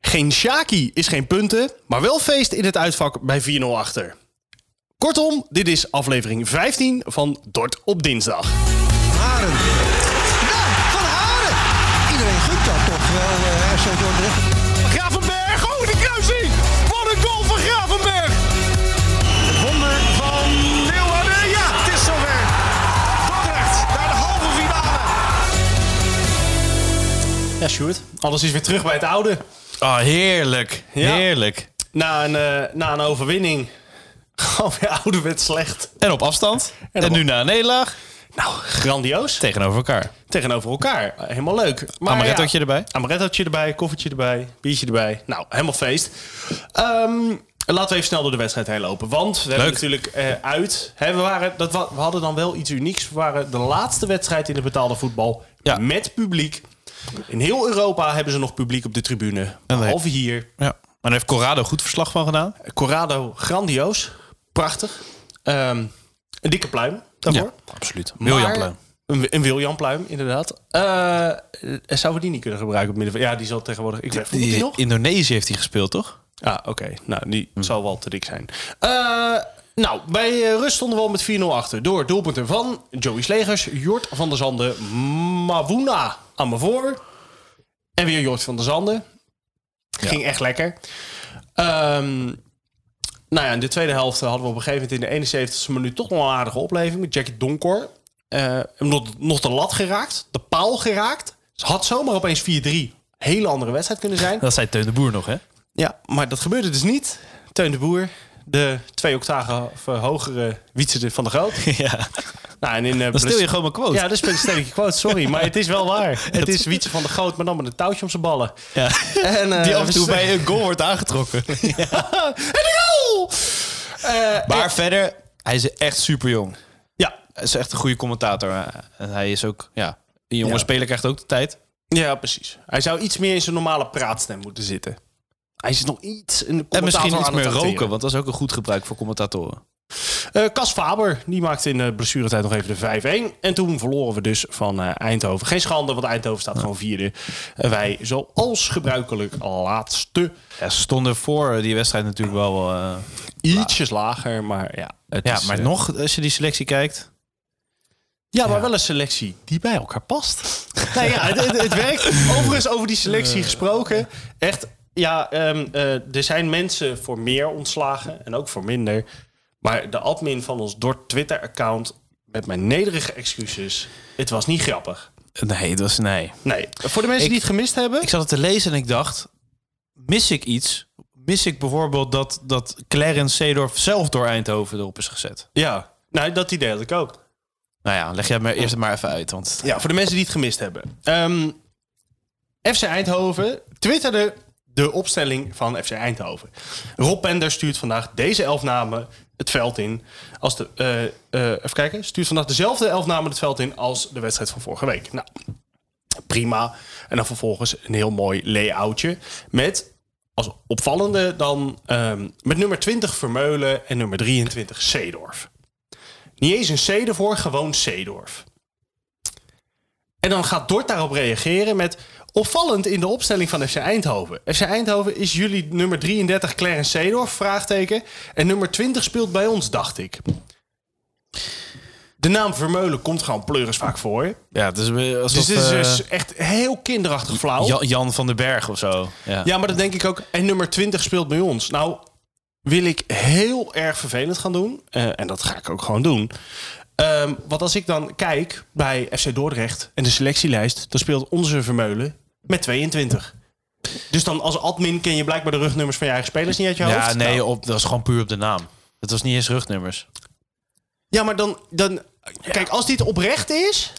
Geen Shaki is geen punten, maar wel feest in het uitvak bij 4-0 achter. Kortom, dit is aflevering 15 van Dort op dinsdag. Haren. Nou, van Haren. Iedereen gunt dat toch wel, eh FC Dordrecht. Gravenberg, oh de kruising! Wat een goal van Gravenberg! Wonder van Leeuwarden, ja, het is zover. Dordrecht, naar de halve finale. Ja, Sjoerd. Alles is weer terug bij het oude. Ah, heerlijk. Ja. Heerlijk. Na een, eh, na een overwinning. Gewoon weer ouderwets slecht. En op afstand. En, op- nu na een nederlaag. Nou, grandioos. Tegenover elkaar. Tegenover elkaar. Helemaal leuk. Maar Amarettootje ja, erbij. Amarettootje erbij, koffietje erbij, biertje erbij. Nou, helemaal feest. Ehm, laten we even snel door de wedstrijd heen lopen. Want we hebben Leuk. natuurlijk eh, uit. Hè, we, waren, dat, wa- we hadden dan wel iets unieks. We waren de laatste wedstrijd in het betaalde voetbal Ja. met publiek. In heel Europa hebben ze nog publiek op de tribune. wij- Behalve hier. Ja. Maar daar heeft Corrado goed verslag van gedaan. Corrado, grandioos. Prachtig. Ehm, een dikke pluim daarvoor. absoluut. Maar- William Pluim. Een, een William pluim, inderdaad. Eh, eh, zouden we die niet kunnen gebruiken op middenveld? Ja, die zal tegenwoordig... Ik weet, voetbalt die Die- nog? Indonesië heeft hij gespeeld, toch? Ah, oké. Nou, die zal wel te dik zijn. Eh, nou, bij eh, rust stonden we al met 4-0 achter. Door doelpunten van Joey Slegers, Jort van der Zanden, Mawuna aan me voor. En weer Jort van der Zanden. Ging echt lekker. Ehm, nou ja, in de tweede helft hadden we op een gegeven moment in de 71ste minuut toch nog een aardige opleving met Jackie Donkor. Eh, hem nog, nog de lat geraakt, de paal geraakt. Het had zomaar opeens 4-3. Hele andere wedstrijd kunnen zijn. Dat zei Teun de Boer nog, hè? Ja, maar dat gebeurde dus niet. Teun de Boer, de twee octaven hogere Wietse van de Groot. ja. Nou, en in, eh, Dan stil je bless- gewoon mijn quote. Ja, dat is een stelletje quote, sorry. Maar het is wel waar. Het is Wietse van de Groot, maar dan met een touwtje om zijn ballen. Ja. En, eh, die af en toe we- bij een goal wordt aangetrokken. en een goal! Eh, Maar verder, hij is echt super jong. ja. Hij is echt een goede commentator. Eh, En hij is ook, ja, een jonge Ja. speler krijgt ook de tijd. ja, precies. Hij zou iets meer in zijn normale praatstem moeten zitten. Hij is nog iets... Een En misschien commentator iets aan het meer roken, acteren. want dat is ook een goed gebruik voor commentatoren. Eh, Cas Faber, die maakte in de blessuretijd nog even de 5-1. En toen verloren we dus van eh, Eindhoven. Geen schande, want Eindhoven staat gewoon vierde. En wij, zoals gebruikelijk, laatste. Ja, ze stonden voor eh, die wedstrijd natuurlijk wel... eh, Ietsjes lager, maar ja. het Ja, is, maar eh, nog, als je die selectie kijkt. Ja, maar wel een selectie die bij elkaar past. Eh. nou ja, het, het- het werkt. Overigens, over die selectie gesproken. Echt, ja, ehm, eh, er zijn mensen voor meer ontslagen en ook voor minder. Maar de admin van ons Dort Twitter-account, met mijn nederige excuses, het was niet grappig. Nee, het was nee. Nee, voor de mensen Ik- die het gemist hebben. Ik zat het te lezen en ik dacht: mis ik iets? Mis ik bijvoorbeeld dat, dat Clarence Seedorf zelf door Eindhoven erop is gezet? ja. Nee, dat idee had ik ook. Nou ja, leg jij me eerst maar even uit. Want Ja, voor de mensen die het gemist hebben. Ehm, FC Eindhoven twitterde de opstelling van FC Eindhoven. Rob Pender stuurt vandaag deze elf namen het veld in. Als de, eh, eh, even kijken. Stuurt vandaag dezelfde elf namen het veld in als de wedstrijd van vorige week. Nou, prima. En dan vervolgens een heel mooi layoutje. Met als opvallende dan ehm, met nummer 20 Vermeulen en nummer 23 Seedorf. Niet eens een C ervoor, gewoon Seedorf. En dan gaat Dort daarop reageren met... opvallend in de opstelling van FC Eindhoven. FC Eindhoven is jullie nummer 33 Clarence Seedorf, vraagteken. En nummer 20 speelt bij ons, dacht ik. De naam Vermeulen komt gewoon pleuris vaak voor. ja, dus Dus alsof, dit is dus echt heel kinderachtig flauw. Jan, Jan van den Berg of zo. Oh. Ja. Ja, maar dat denk ik ook. En nummer 20 speelt bij ons. Nou, wil ik heel erg vervelend gaan doen. eh, en dat ga ik ook gewoon doen. Ehm, want als ik dan kijk bij FC Dordrecht en de selectielijst, dan speelt onze Vermeulen met 22. Dus dan als admin ken je blijkbaar de rugnummers van je eigen spelers niet uit je Ja, hoofd. nee, Nou, op, dat was gewoon puur op de naam. Het was niet eens rugnummers. ja, maar dan, dan. Kijk, als dit oprecht is,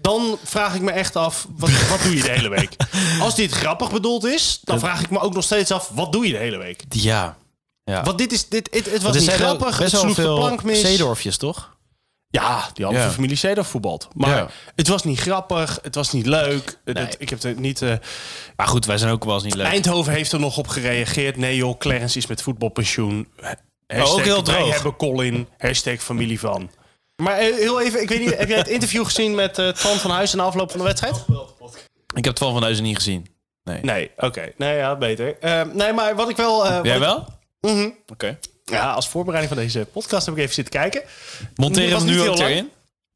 dan vraag ik me echt af: wat, wat doe je de hele week? Als dit grappig bedoeld is, dan vraag ik me ook nog steeds af: wat doe je de hele week? Ja. ja. Want dit is, dit, het, het was Want er niet zijn ook grappig, het Best wel sloeg de veel plank mis. Seedorfjes, toch? Ja, die halve Ja. familie Seedorf voetbalt. Maar Ja. het was niet grappig, het was niet leuk. Het- het- ik heb het niet... eh, Maar goed, wij zijn ook wel eens niet leuk. Eindhoven heeft er nog op gereageerd. Nee joh, Clarence is met voetbalpensioen. Hashtag ook heel Wij droog. hebben Colin, hashtag familie van. Maar eh, heel even, ik weet niet, heb jij het interview gezien met eh Twan van Huis na afloop van de wedstrijd? Ik heb Twan van Huizen niet gezien. Nee, oké. Nee, ja, beter. Eh, nee, maar wat ik wel... eh, wat Jij ik- wel? Oké. ja, als voorbereiding van deze podcast heb ik even zitten kijken. Monteren Was we niet nu heel ook lang. erin?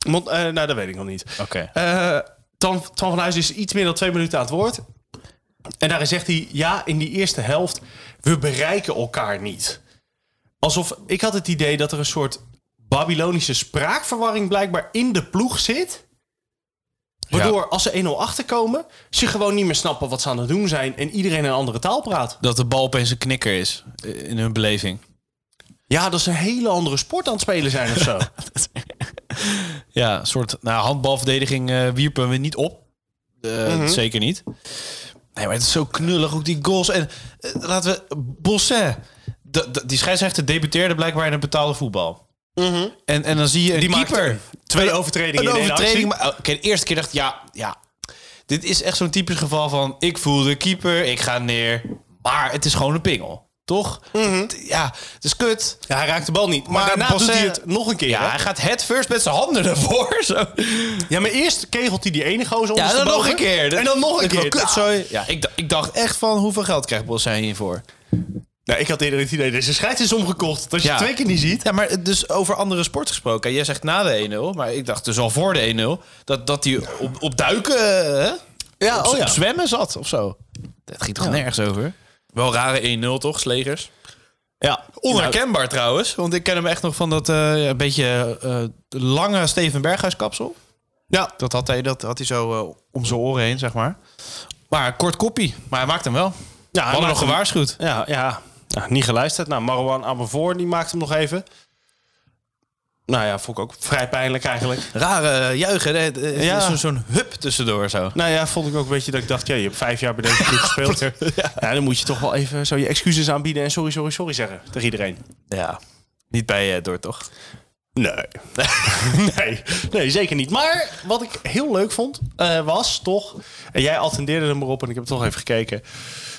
Mont, eh, nou, dat weet ik nog niet. Oké. Eh, Tan, Tan van Huis is iets meer dan twee minuten aan het woord. En daarin zegt hij, ja, in die eerste helft, we bereiken elkaar niet. Alsof, ik had het idee dat er een soort Babylonische spraakverwarring blijkbaar in de ploeg zit. Waardoor als ze 1-0 achterkomen, ze gewoon niet meer snappen wat ze aan het doen zijn. En iedereen een andere taal praat. Dat de bal opeens een knikker is eh, in hun beleving. Ja, dat ze een hele andere sport aan het spelen zijn of zo. Ja, een soort nou, handbalverdediging eh, wierpen we niet op. Eh, Mhm. Zeker niet. Nee, maar het is zo knullig, ook die goals. En eh, laten we... Bosset, d- d- die scheidsrechter debuteerde blijkbaar in het betaalde voetbal. En, en dan zie je een Mhm. Die maakt keeper. Twee overtredingen een in één actie. overtreding. Maar, oké, de eerste keer dacht ik, ja, ja. Dit is echt zo'n typisch geval van... ik voel de keeper, ik ga neer. Maar het is gewoon een pingel, toch? Mhm. Het- Ja, het is kut. Ja, hij raakt de bal niet. Maar, Maar daarna doet Bosset- hij het nog een keer. Ja, hè? hij gaat head first met zijn handen ervoor. Zo. Ja, maar eerst kegelt hij die ene gozer Ja, dan ondersteboven. nog een keer. En dan nog een Ik wou keer. kut, sorry. Ja, ik, dacht- ik dacht echt van hoeveel geld krijgt Bolsijn hiervoor? Nou, ik had eerder het idee, deze scheids is omgekocht. Dat als je Ja. het twee keer niet ziet. Ja, maar dus over andere sports gesproken. Jij zegt na de 1-0, maar ik dacht dus al voor de 1-0... dat, dat hij op, op duiken, hè? Ja, Op, op zwemmen zat of zo. oh Dat ging toch nergens over? Wel rare 1-0 toch, Slegers? Ja, Nou, Onherkenbaar trouwens, want ik ken hem echt nog van dat eh, een beetje eh, lange Steven Berghuis kapsel. Ja. Dat had hij, dat had hij zo eh, om zijn oren heen, zeg maar. Maar kort koppie, maar hij maakt hem wel. ja, We hij hadden maakt nog hem- gewaarschuwd. Ja, ja. Nou, niet geluisterd. Nou, Marwan Abervoor, die maakt hem nog even. Nou ja, vond ik ook vrij pijnlijk eigenlijk. Rare eh, juichen, hè? Het is Ja. zo- zo'n hup tussendoor zo. Nou ja, vond ik ook een beetje dat ik dacht... Ja, je hebt vijf jaar bij deze club gespeeld. ja. dan moet je toch wel even zo je excuses aanbieden... en sorry, sorry, sorry zeggen tegen iedereen. Ja, niet bij eh door toch? Nee. nee. Nee, zeker niet. Maar wat ik heel leuk vond, eh, was toch... En jij attendeerde er maar op en ik heb toch even gekeken.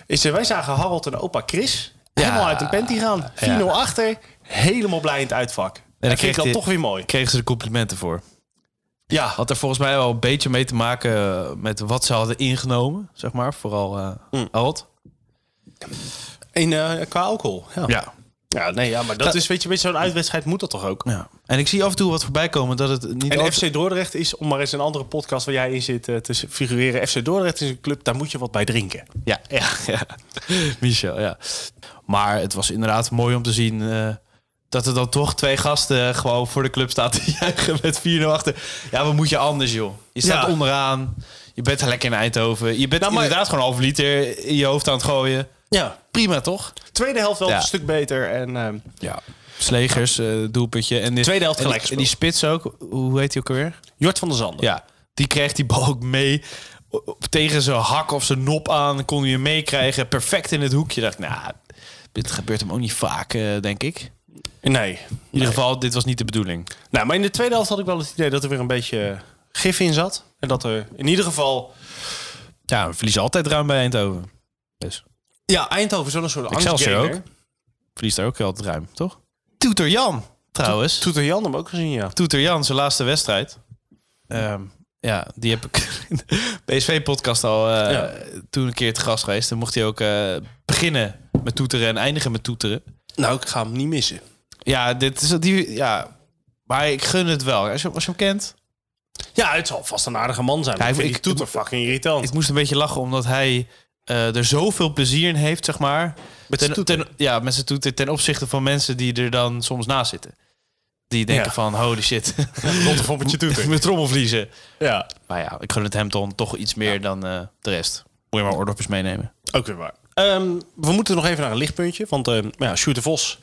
Is, eh, wij zagen Harold en opa Chris helemaal uit een panty gaan. 4-0 achter, helemaal blij in het uitvak. En dan dat vind kreeg ik dan hij- toch weer mooi. Kregen ze de complimenten voor. Ja, Had er volgens mij wel een beetje mee te maken eh, met wat ze hadden ingenomen, zeg maar. Vooral eh Harold. in, eh, qua alcohol. Ja. Ja. nee, ja, maar dat is, weet je, met zo'n uitwedstrijd moet dat toch ook? Ja. En ik zie af en toe wat voorbij komen dat het niet En altijd- FC Dordrecht is, om maar eens een andere podcast waar jij in zit eh, te figureren. FC Dordrecht is een club, daar moet je wat bij drinken. Ja, ja, ja. Michel, ja. Maar het was inderdaad mooi om te zien eh, dat er dan toch twee gasten eh, gewoon voor de club staan te juichen met 4-0 achter. Ja, wat moet je anders, joh? Je staat Ja. onderaan. Je bent lekker in Eindhoven. Je bent Nou, maar- inderdaad gewoon een half liter in je hoofd aan het gooien. Ja. Prima, toch? Tweede helft wel Ja. een stuk beter. En, ehm, Ja. Slegers, eh, doelpuntje. En die, Tweede helft en gelijk die, en die spits ook. Hoe heet hij ook alweer? Jort van der Zanden. Ja, die kreeg die bal ook mee. O- op- Tegen zijn hak of zijn nop aan kon hij hem meekrijgen. Perfect in het hoekje. Dacht, ik, nou, dit gebeurt hem ook niet vaak, eh, denk ik. In Nee. ieder geval, dit was niet de bedoeling. Nou, maar in de tweede helft had ik wel het idee dat er weer een beetje eh, gif in zat. En dat er in ieder geval... Ja, we verliezen altijd ruim bij Eindhoven. Dus Ja, Eindhoven zo'n soort Excelsior angstgainer. ook. verliest daar ook altijd ruim, toch? Toeter Jan, trouwens. Toeter Jan hem ook gezien, ja. Toeter Jan, zijn laatste wedstrijd. Ehm, ja, die heb ik in de PSV-podcast al eh, Ja. toen een keer te gast geweest. Dan mocht hij ook eh, beginnen met toeteren en eindigen met toeteren. Nou, ik ga hem niet missen. Ja, dit is die. Ja, maar ik gun het wel. Als je, als je hem kent. Ja, het zal vast een aardige man zijn. Ja, maar ik ik- vind die ik- toeter fucking irritant. Ik moest een beetje lachen omdat hij eh, er zoveel plezier in heeft, zeg maar. Met zijn ten, toeter. ten, ja, met zijn toeter ten opzichte van mensen die er dan soms naast zitten. Die denken Ja. van, holy shit, Rond een met je toeter. mijn trommelvliezen. Ja, Maar ja, ik gun het hem dan toch iets meer dan eh, de rest. Moet je maar oordopjes meenemen. ook weer waar. Ehm, we moeten nog even naar een lichtpuntje. Want ehm ja, Sjoerd de Vos,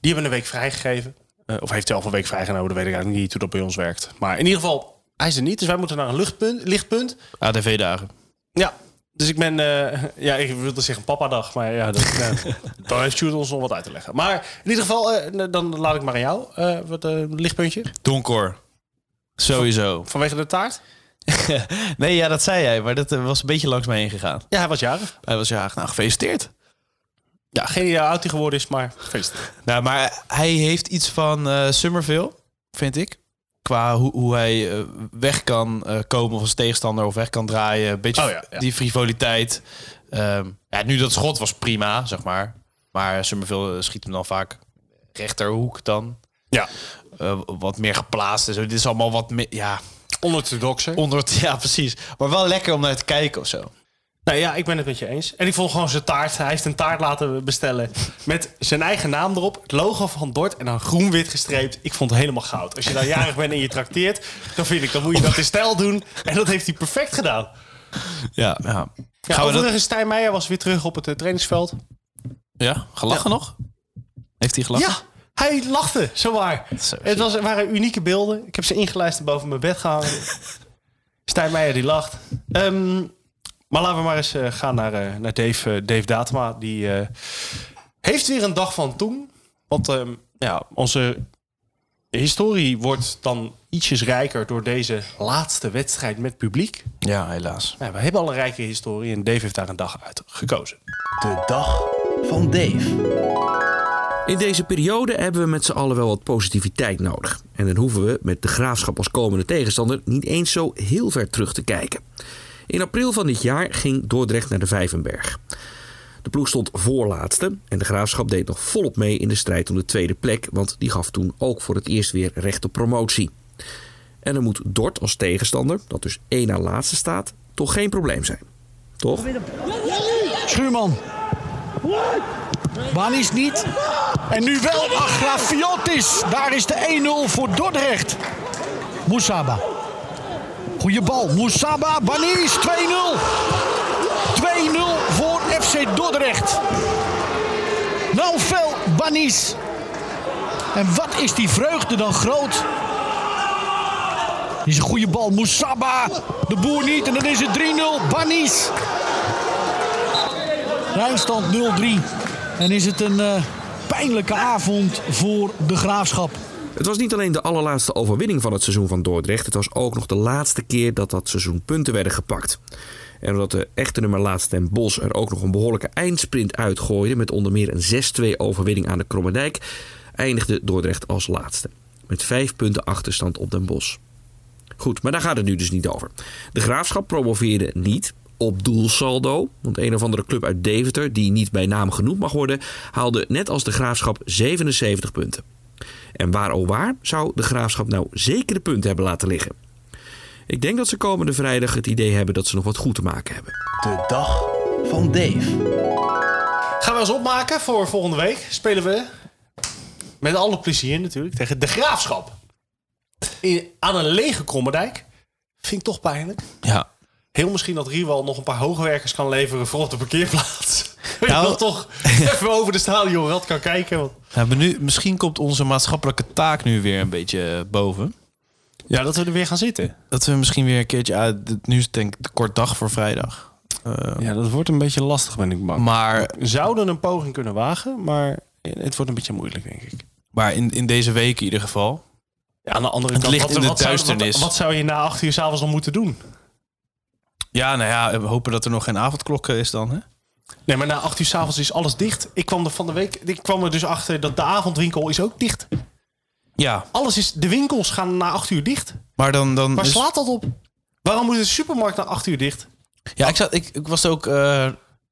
die hebben een week vrijgegeven. Eh, of heeft zelf een week vrijgenomen. Dat weet ik eigenlijk niet hoe dat bij ons werkt. Maar in ieder geval, hij is er niet. Dus wij moeten naar een luchtpunt, lichtpunt. ADV-dagen. Ja, dus ik ben... eh, ja, ik wilde zeggen papadag, maar ja, dat, ja, dan heeft Sjoerd ons nog wat uit te leggen. Maar in ieder geval, eh, dan laat ik maar aan jou. eh, wat eh, lichtpuntje. Donkor. Sowieso. Vanwege de taart. nee, ja, dat zei jij, maar dat eh, was een beetje langs mij heen gegaan. Ja, hij was jarig. Hij was ja, nou gefeliciteerd. Ja, geen idee hoe oud hij geworden is, maar feest. Nou, maar hij heeft iets van eh Summerville, vind ik. qua hoe, hoe hij eh, weg kan eh, komen van zijn tegenstander of weg kan draaien. Een beetje Oh ja, ja. die frivoliteit. Ehm, ja, nu dat schot was prima, zeg maar. Maar Summerville eh, schiet hem dan vaak rechterhoek dan. Ja, Eh, wat meer geplaatst en zo. Dit is allemaal wat meer... Ja, onorthodoxer. onder het... Ja, precies. Maar wel lekker om naar te kijken of zo. Nou ja, ik ben het met je eens. En ik vond gewoon zijn taart. Hij heeft een taart laten bestellen met zijn eigen naam erop. Het logo van Dort en dan groen-wit gestreept. Ik vond het helemaal goud. Als je nou jarig bent en je trakteert, dan vind ik, dan moet je dat in stijl doen. En dat heeft hij perfect gedaan. Ja, ja. Ja, Gaan we dat... overigens, Stijn Meijer was weer terug op het eh, trainingsveld. Ja, gelachen nog? Heeft hij gelachen? Ja, hij lachte, zowaar. Zo, Het was, waren unieke beelden. Ik heb ze ingelijst boven mijn bed gehangen. Stijn Meijer die lacht. Ehm, maar laten we maar eens eh, gaan naar, eh, naar Dave, eh, Dave Datema. Die eh, heeft weer een dag van toen. Want ehm, ja, onze historie wordt dan ietsjes rijker door deze laatste wedstrijd met publiek. Ja, helaas. Nou, we hebben al een rijke historie en Dave heeft daar een dag uit gekozen. De dag van Dave. In deze periode hebben we met z'n allen wel wat positiviteit nodig. En dan hoeven we met de graafschap als komende tegenstander niet eens zo heel ver terug te kijken. In april van dit jaar ging Dordrecht naar de Vijvenberg. De ploeg stond voorlaatste en de graafschap deed nog volop mee in de strijd om de tweede plek, want die gaf toen ook voor het eerst weer recht op promotie. En dan moet Dort als tegenstander, dat dus één na laatste staat, toch geen probleem zijn. Toch? Schuurman. Banis niet. En nu wel Agrafiotis. Daar is de 1-0 voor Dordrecht. Moussaba. Goeie bal. Moussaba, Banis 2-0. 2-0 voor FC Dordrecht. Naufel Banis. En wat is die vreugde dan groot. Dit is een goede bal. Moussaba. De boer niet. En dan is het 3-0. Banis. Ruimstand 0-3. En is het een eh, pijnlijke avond voor de graafschap. Het was niet alleen de allerlaatste overwinning van het seizoen van Dordrecht. Het was ook nog de laatste keer dat dat seizoen punten werden gepakt. En omdat de echte nummer laatst ten Bos er ook nog een behoorlijke eindsprint uitgooide... met onder meer een 6-2 overwinning aan de Kromme Dijk... eindigde Dordrecht als laatste. Met vijf punten achterstand op den Bos. Goed, maar daar gaat het nu dus niet over. De Graafschap promoveerde niet op doelsaldo. Want een of andere club uit Deventer, die niet bij naam genoemd mag worden... haalde net als de Graafschap 77 punten. En waar oh waar zou de graafschap nou zekere punten hebben laten liggen? Ik denk dat ze komende vrijdag het idee hebben dat ze nog wat goed te maken hebben. De dag van Dave. Gaan we eens opmaken voor volgende week. Spelen we met alle plezier natuurlijk tegen de Graafschap. In, aan een lege Krommerdijk. Vind ik toch pijnlijk. Ja. Heel misschien dat Riewal nog een paar hoogwerkers kan leveren voor op de parkeerplaats. Nou- Nou, dat toch even over de stadionrad kan kijken. want- Ja, maar nu, misschien komt onze maatschappelijke taak nu weer een beetje boven. Ja, dat we er weer gaan zitten. Dat we misschien weer een keertje uit. dit- Nu is het denk ik de kort dag voor vrijdag. Eh, Ja, dat wordt een beetje lastig, ben ik bang. maar Zouden een poging kunnen wagen, maar het wordt een beetje moeilijk, denk ik. maar in, in deze week in ieder geval. Ja, aan de andere Het kant, ligt in de zou- duisternis. Wat, wat zou je na acht uur s'avonds dan moeten doen? Ja, nou ja, we hopen dat er nog geen avondklok eh, is dan. Hè? Nee, maar na 8 uur s'avonds is alles dicht. Ik kwam er van de week. Ik kwam er dus achter dat de avondwinkel is ook dicht. Ja, Alles is. De winkels gaan na 8 uur dicht. maar dan. dan Waar is- slaat dat op? Waarom moet de supermarkt na 8 uur dicht? Ja, ik, zat, ik, ik was ook. eh,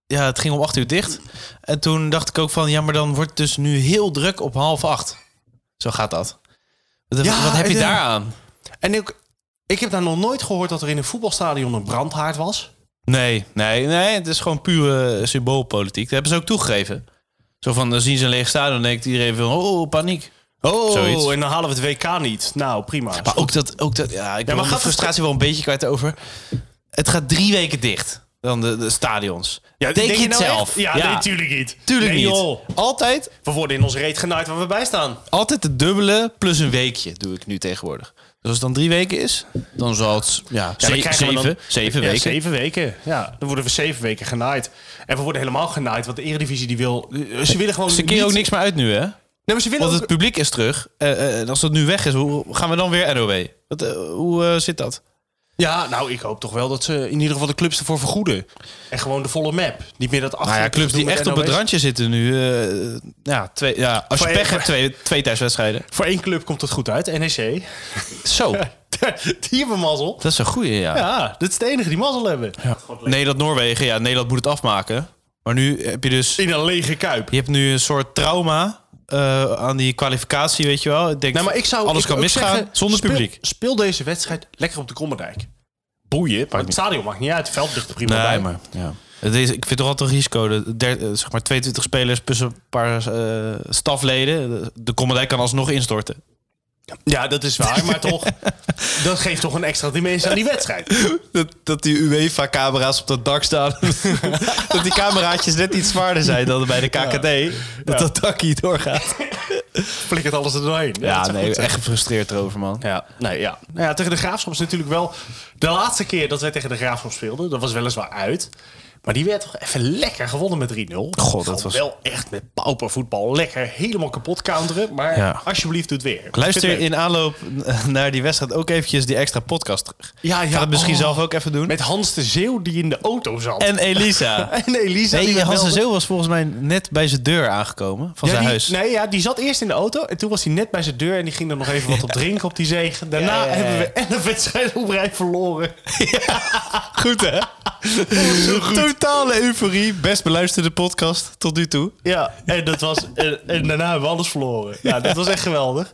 ja, het ging om acht uur dicht. En toen dacht ik ook van, ja, maar dan wordt het dus nu heel druk op half acht. Zo gaat dat. Wat, Ja, wat heb je eh, daaraan? En ik, ik heb daar nog nooit gehoord dat er in een voetbalstadion een brandhaard was. Nee, nee, nee. Het is gewoon pure symboolpolitiek. Dat hebben ze ook toegegeven. Zo van, dan zien ze een leeg stadion en denkt iedereen van, oh, paniek. Oh, Zoiets. en dan halen we het WK niet. Nou, prima. Maar ook dat, ook dat ja, ik ben maar mijn gaat het- frustratie wel een beetje kwijt over. Het gaat drie weken dicht, dan de, de stadions. Ja, Denk denk je het nou zelf? echt? Ja, natuurlijk niet. Tuurlijk Nee, niet. joh. Altijd, We worden in ons reet genaaid waar we bij staan. altijd het dubbele plus een weekje doe ik nu tegenwoordig. Dus als het dan drie weken is, dan zal het ja, Ja, dan ze- krijgen we zeven, dan- zeven Ja, weken. zeven weken. Ja, dan worden we zeven weken genaaid. En we worden helemaal genaaid, want de Eredivisie die wil... eh, Ze willen gewoon Ze keren niet- ook niks meer uit nu, hè? Nee, maar ze willen Want ook... het publiek is terug. Eh, eh, en als dat nu weg is, hoe gaan we dan weer NOW? Wat, eh, hoe eh, zit dat? Ja, nou, ik hoop toch wel dat ze in ieder geval de clubs ervoor vergoeden. En gewoon de volle map. Niet meer dat achter. Nou ja, clubs die echt op het randje zitten nu. eh, ja, twee, ja, als je Voor- pech hebt, twee, twee thuiswedstrijden. Voor één club komt het goed uit, NEC. Zo, die hebben mazzel. dat is een goeie, ja. Ja, dat is de enige die mazzel hebben. Nederland-Noorwegen, ja, Nederland moet het afmaken. Maar nu heb je dus... In een lege kuip. Je hebt nu een soort trauma eh, aan die kwalificatie, weet je wel. Ik denk, Nou, maar ik zou, alles ik kan ook misgaan zeggen, zonder speel- publiek. Speel deze wedstrijd lekker op de Krommerdijk. Boeien, maar het stadion maakt niet uit. Het veld ligt er prima bij. Nee, maar ja. Het is, ik vind toch altijd een risico. De, der- eh, zeg maar 22 spelers plus een paar eh, stafleden. De, de Commandijk kan alsnog instorten. Ja, dat is waar, maar toch. Dat geeft toch een extra dimensie aan die wedstrijd. Dat, dat die UEFA-camera's op dat dak staan. dat die cameraatjes net iets zwaarder zijn dan bij de KKD. Dat dat dak hier doorgaat. Flikkert alles er doorheen. dat Ja, zou nee, goed zijn. echt gefrustreerd erover, man. Ja, nee, ja. Nou ja, tegen de Graafschap is natuurlijk wel... De laatste keer dat wij tegen de Graafschap speelden, dat was weliswaar uit. Maar die werd toch even lekker gewonnen met 3-0. God, dat Gewoon was- Wel echt met paupervoetbal. Lekker helemaal kapot counteren. Maar Ja. alsjeblieft, doe het weer. Luister Vind ik in aanloop naar die wedstrijd ook eventjes die extra podcast terug. leuk. Ja, ja. Ga het misschien oh. zelf ook even doen. Met Hans de Zeeuw die in de auto zat. En Elisa. En Elisa die Nee, me Hans de belde. Zeeuw was volgens mij net bij zijn deur aangekomen van Ja, zijn die, huis. Nee, ja, die zat eerst in de auto. En toen was hij net bij zijn deur. En die ging dan nog even wat op drinken op die zegen. Daarna Ja, ja, ja. hebben we en de wedstrijd op rij verloren. Goed hè? Totale euforie. Best beluisterde podcast tot nu toe. Ja, en, dat was, en, en daarna hebben we alles verloren. Ja, dat was echt geweldig.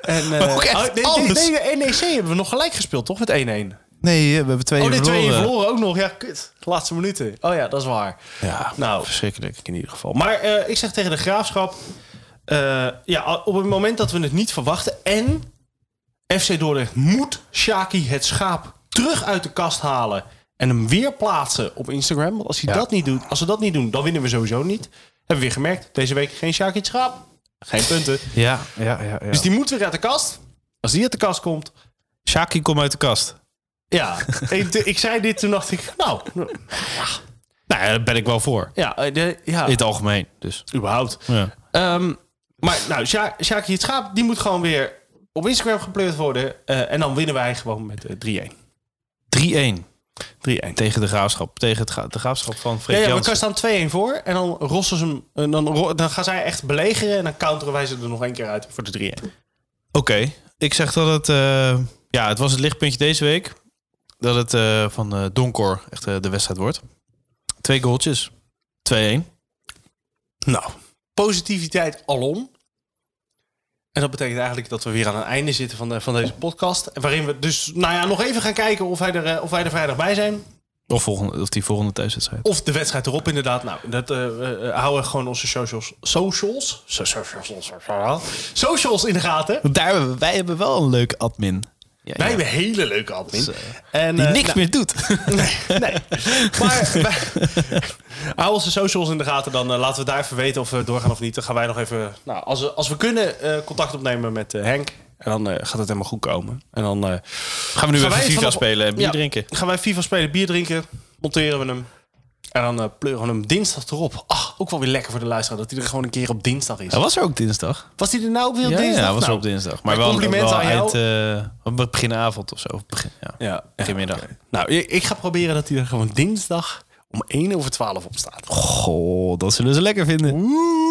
En, eh, Ook echt oh, nee, alles. Nee, nee, nee, NEC hebben we nog gelijk gespeeld, toch? Met 1-1. Nee, we hebben twee Oh, de twee verloren. verloren ook nog. Ja, kut. De laatste minuten. Oh ja, dat is waar. Ja, Nou, verschrikkelijk. in ieder geval. Maar eh, ik zeg tegen de graafschap... eh, ja, op het moment dat we het niet verwachten... en FC Dordrecht moet Shaki het schaap terug uit de kast halen... en hem weer plaatsen op Instagram. Want als, hij Ja. dat niet doet, als ze dat niet doen, dan winnen we sowieso niet. Hebben we weer gemerkt. Deze week geen Shaki het schaap. Geen punten. Ja, ja, ja. ja. Dus die moet weer uit de kast. Als die uit de kast komt... Shaki komt uit de kast. Ja, ik, ik zei dit, toen dacht ik... Nou, Nou, ja, daar ben ik wel voor. ja, eh, de- ja In het algemeen, dus. überhaupt. Ja. Ehm, maar nou, Sja- Sjaakje het Schaap, die moet gewoon weer op Instagram gepleurd worden. eh, en dan winnen wij gewoon met eh, 3-1. 3-1. 3-1. Tegen de graafschap. Tegen het ga- de graafschap van Ja, Freek ja, we Jansen. kan staan 2-1 voor. En dan rossen ze hem. en dan, ro- dan gaan zij echt belegeren. En dan counteren wij ze er nog één keer uit voor de 3-1. Oké, ik zeg dat het... eh, ja, het was het lichtpuntje deze week. Dat het eh, van eh, Donkor echt eh, de wedstrijd wordt. Twee goaltjes. 2-1. Nou, positiviteit alom. En dat betekent eigenlijk dat we weer aan het einde zitten van, de, van deze podcast. En Waarin we dus, nou ja, nog even gaan kijken of wij er, eh, of wij er vrijdag bij zijn. Of, volgende, of die volgende thuiswedstrijd. Of de wedstrijd erop, inderdaad. Nou, dat eh, we, eh, houden gewoon onze socials. Socials? So- so- so- so- so- so- Socials in de gaten. Daar, wij hebben wel een leuke admin. Wij hebben een hele leuke admin. Zo. En, Die eh, niks nou, meer doet. Nee, nee. Maar wij- hou onze socials in de gaten. Dan eh, laten we daar even weten of we doorgaan of niet. Dan gaan wij nog even, nou, als, we- als we kunnen, eh, contact opnemen met eh, Henk. En dan eh, gaat het helemaal goed komen. En dan eh, Gaan Gaan we nu even wij FIFA vanaf- spelen en bier Ja. drinken. gaan wij FIFA spelen, bier drinken, monteren we hem. En dan eh, pleuren we hem dinsdag erop. Ah, ook wel weer lekker voor de luisteraar dat hij er gewoon een keer op dinsdag is. Hij was er ook dinsdag. Was hij er nou weer op ja, dinsdag? ja, hij was er Nou, op dinsdag. Maar mijn wel, complimenten wel aan jou. eind, eh, beginavond of zo. Of Begin, ja. Ja, Beginmiddag. Nou, ik, ik ga proberen dat hij er gewoon dinsdag om 1 over 12 op staat. Goh, dat zullen ze lekker vinden.